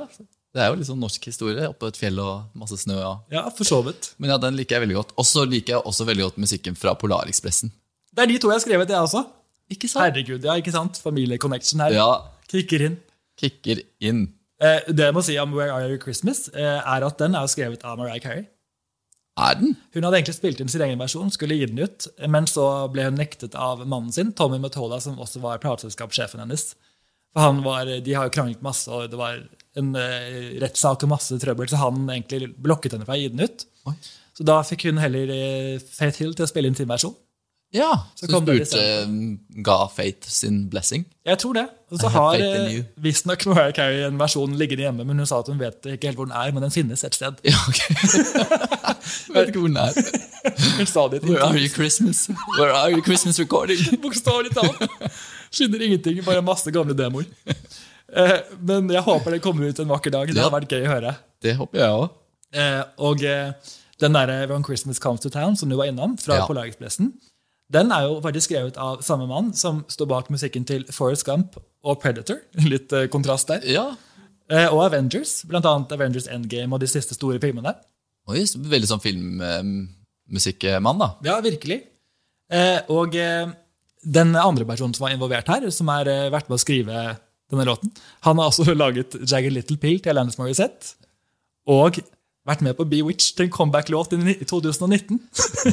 det er jo liksom norsk historie. Oppå et fjell og masse snø. Ja. Ja, for så vidt. Men ja, den liker jeg veldig godt. Og så liker jeg også veldig godt musikken fra Polarekspressen. Det er de to jeg har skrevet, jeg også. Ikke sant? Herregud, ja, ikke sant? Familieconnection her. Ja, Kikker inn. kicker inn. Eh, det jeg må si om Where Are You Christmas, eh, er at den er jo skrevet av Mariah Carey. Er den? Hun hadde egentlig spilt inn sin egen versjon, skulle gi den ut, men så ble hun nektet av mannen sin, Tommy Mottola, som også var plateselskapssjefen hennes. For han var, De har jo kranglet masse, og det var en eh, rettssak og masse trøbbel, så han egentlig blokket henne fra å gi den ut. Oi. Så da fikk hun heller eh, Faith Hill til å spille inn sin versjon. Ja, så, kom du den i spurte eh, Ga Faith sin blessing? Jeg tror det. Og så I have har faith in eh, you. visstnok Mariah Carey en versjon liggende hjemme, men hun sa at hun vet ikke helt hvor den er, men den finnes et sted. Ja, ok. Jeg vet ikke hvor den er. Hun sa det i et Where are intervju, you Christmas? Where are you Christmas recording? bokstavelig talt. Skynner ingenting, bare masse gamle demoer. Eh, Men jeg håper det kommer ut en vakker dag. Det Ja. hadde vært gøy å høre. Det håper jeg òg. Eh, Og eh, den derre When Christmas Comes to Town, som du var innom, fra Ja. Polarekspressen, den er jo faktisk skrevet av samme mann som står bak musikken til Forest Gump og Predator. Litt eh, kontrast der. Ja. Eh, Og Avengers, blant annet Avengers Endgame og de siste store filmene. Oi, så veldig sånn filmmusikkmann, da. Ja, virkelig. Eh, og eh, den andre personen som var involvert her, som har eh, vært med å skrive denne låten, han har også laget Jagged Little Pill til Alanis Morissette, og vært med på Bewitch til en comeback-låt i ni- i 2019.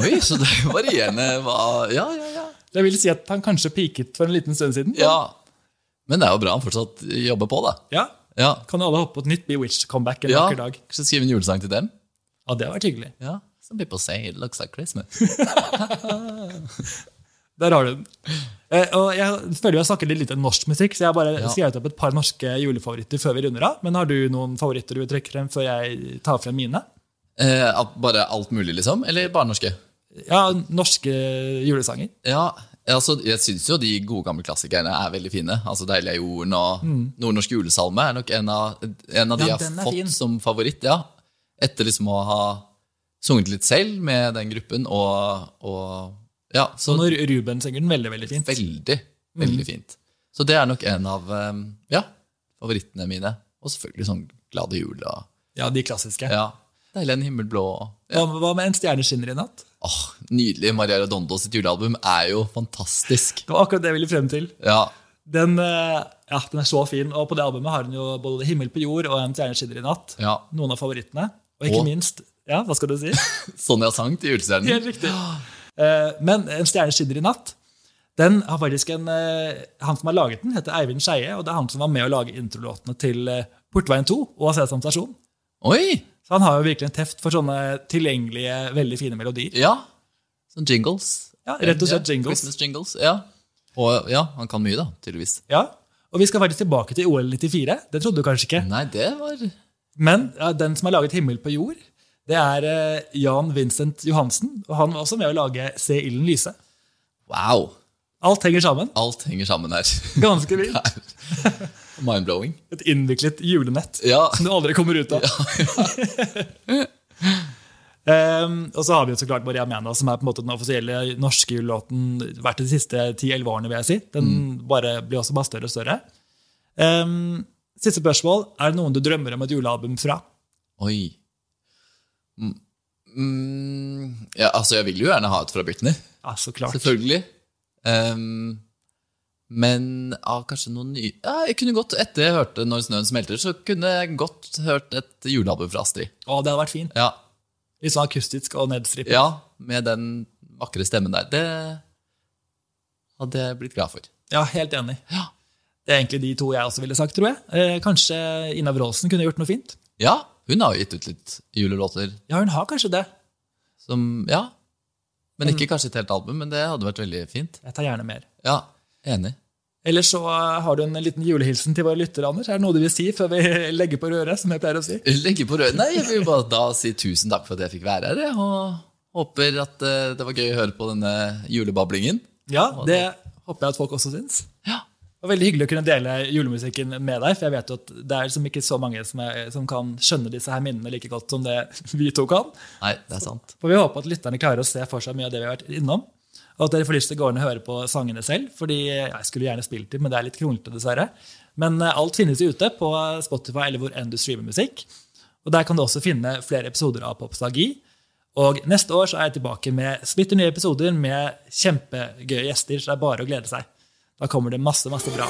Oi, så det er varierende hva Ja, ja, ja. Jeg vil si at han kanskje peaket for en liten stund siden. ja. Men det er jo bra han fortsatt jobber på, da. Ja, Ja. Kan Kan alle hoppe på et nytt Bewitch-comeback en ja. vakker dag? Kanskje skrive en julesang til dem? Ja, det hadde vært hyggelig. Ja. Some people say it looks like Christmas. Der har du den. Eh, og jeg føler jeg snakker litt lite norsk musikk, så jeg har bare skrevet opp et par norske julefavoritter før vi runder av. Men har du noen favoritter du vil trekke frem før jeg tar frem mine? Eh, at bare alt mulig, liksom? Eller bare norske? Ja, norske julesanger. Ja, altså jeg syns jo de gode gamle klassikerne er veldig fine. Altså 'Deilig er jorden' og 'Nordnorsk julesalme' er nok en av, en av de Mm. Ja, jeg den har er fått fin. som favoritt. ja. Etter liksom å ha sunget litt selv med den gruppen og, og Ja, så Og når Ruben synger den veldig, veldig fint. Mm. veldig, veldig fint. Så det er nok en av eh, ja, favorittene mine. Og selvfølgelig sånn 'Glade jul' og Ja, de klassiske. ja, 'Deilig er en himmel blå' og Hva, hva med En stjerne skinner i natt? Åh, Nydelig. Maria Redondo sitt julealbum er jo fantastisk. Det var akkurat det jeg ville frem til. Ja, Den, eh, ja, den er så fin, og på det albumet har hun jo både 'Himmel på jord' og 'En stjerne skinner i natt'. ja. Noen av favorittene. Og ikke Og- minst Ja, hva skal du si? Sonja sang til julestjernen. Helt riktig. Eh, Men 'En stjerne skinner i natt' den har faktisk en, eh, Han som har laget den, heter Eivind Skeie, og det er han som var med å lage introlåtene til eh, Portveien 2 og Sesam stasjon. Oi! Så han har jo virkelig en teft for sånne tilgjengelige, veldig fine melodier. Ja. Sånn jingles. Ja, rett og slett jingles. Christmas jingles, ja. Og ja, han kan mye, da, tydeligvis. Ja, og vi skal faktisk tilbake til OL 94. Det trodde du kanskje ikke. Nei, det var Men ja, den som har laget 'Himmel på jord', det er eh, Jan Vincent Johansen. Og han var også med å lage 'Se ilden lyse'. Wow! Alt henger sammen. Alt henger sammen her. Ganske vilt. Mind-blowing. Et innviklet julenett Ja. som du aldri kommer ut av. Ehm, og så har vi jo så klart Maria Mena, som er på en måte den offisielle norske julelåten hvert de siste 10-11 årene. vil jeg si. Den Mm. bare, blir også bare større og større. Ehm, siste spørsmål. Er det noen du drømmer om et julealbum fra? Oi. Mm, Mm, ja, altså, jeg vil jo gjerne ha et fra Britney, Ja, så klart. selvfølgelig. Ehm, men av kanskje noen nye ja, Jeg kunne godt, etter jeg hørte 'Når snøen smelter', så kunne jeg godt hørt et julealbum fra Astrid. Å, det hadde vært fint. Ja, Litt sånn akustisk og nedstrippet. ja, med den vakre stemmen der. Det hadde jeg blitt glad for. Ja, helt enig. Ja. Det er egentlig de to jeg også ville sagt, tror jeg. Eh, kanskje Ina Wroldsen kunne gjort noe fint? Ja, hun har jo gitt ut litt julelåter Ja, hun har kanskje det. som Ja. Men ikke kanskje et helt album, men det hadde vært veldig fint. Jeg tar gjerne mer. Mm. Ja, enig. Eller så eh, har du en liten julehilsen til våre lyttere, Anders. Er det noe du vil si før vi legger på røret, som jeg pleier å si? Legge på røret. Nei, jeg vil bare da si tusen takk for at jeg fikk være her, jeg, og håper at eh, det var gøy å høre på denne julebablingen. Ja, det håper jeg at folk også syns. Ja. Det var veldig hyggelig å kunne dele julemusikken med deg, for jeg vet jo at det er liksom ikke så mange som, er, som kan skjønne disse her minnene like godt som det vi to kan. Nei, det er sant. For vi håper at lytterne klarer å se for seg mye av det vi har vært innom. Og at dere får lyst til å gå inn og høre på sangene selv. fordi jeg skulle gjerne spilt dem, men det er litt kronglete, dessverre. Men eh, alt finnes jo ute på Spotify eller hvor enn du streamer musikk. Og der kan du også finne flere episoder av Popstagi. Og neste år så er jeg tilbake med splitter nye episoder med kjempegøye gjester, så det er bare å glede seg. Da kommer det masse, masse bra.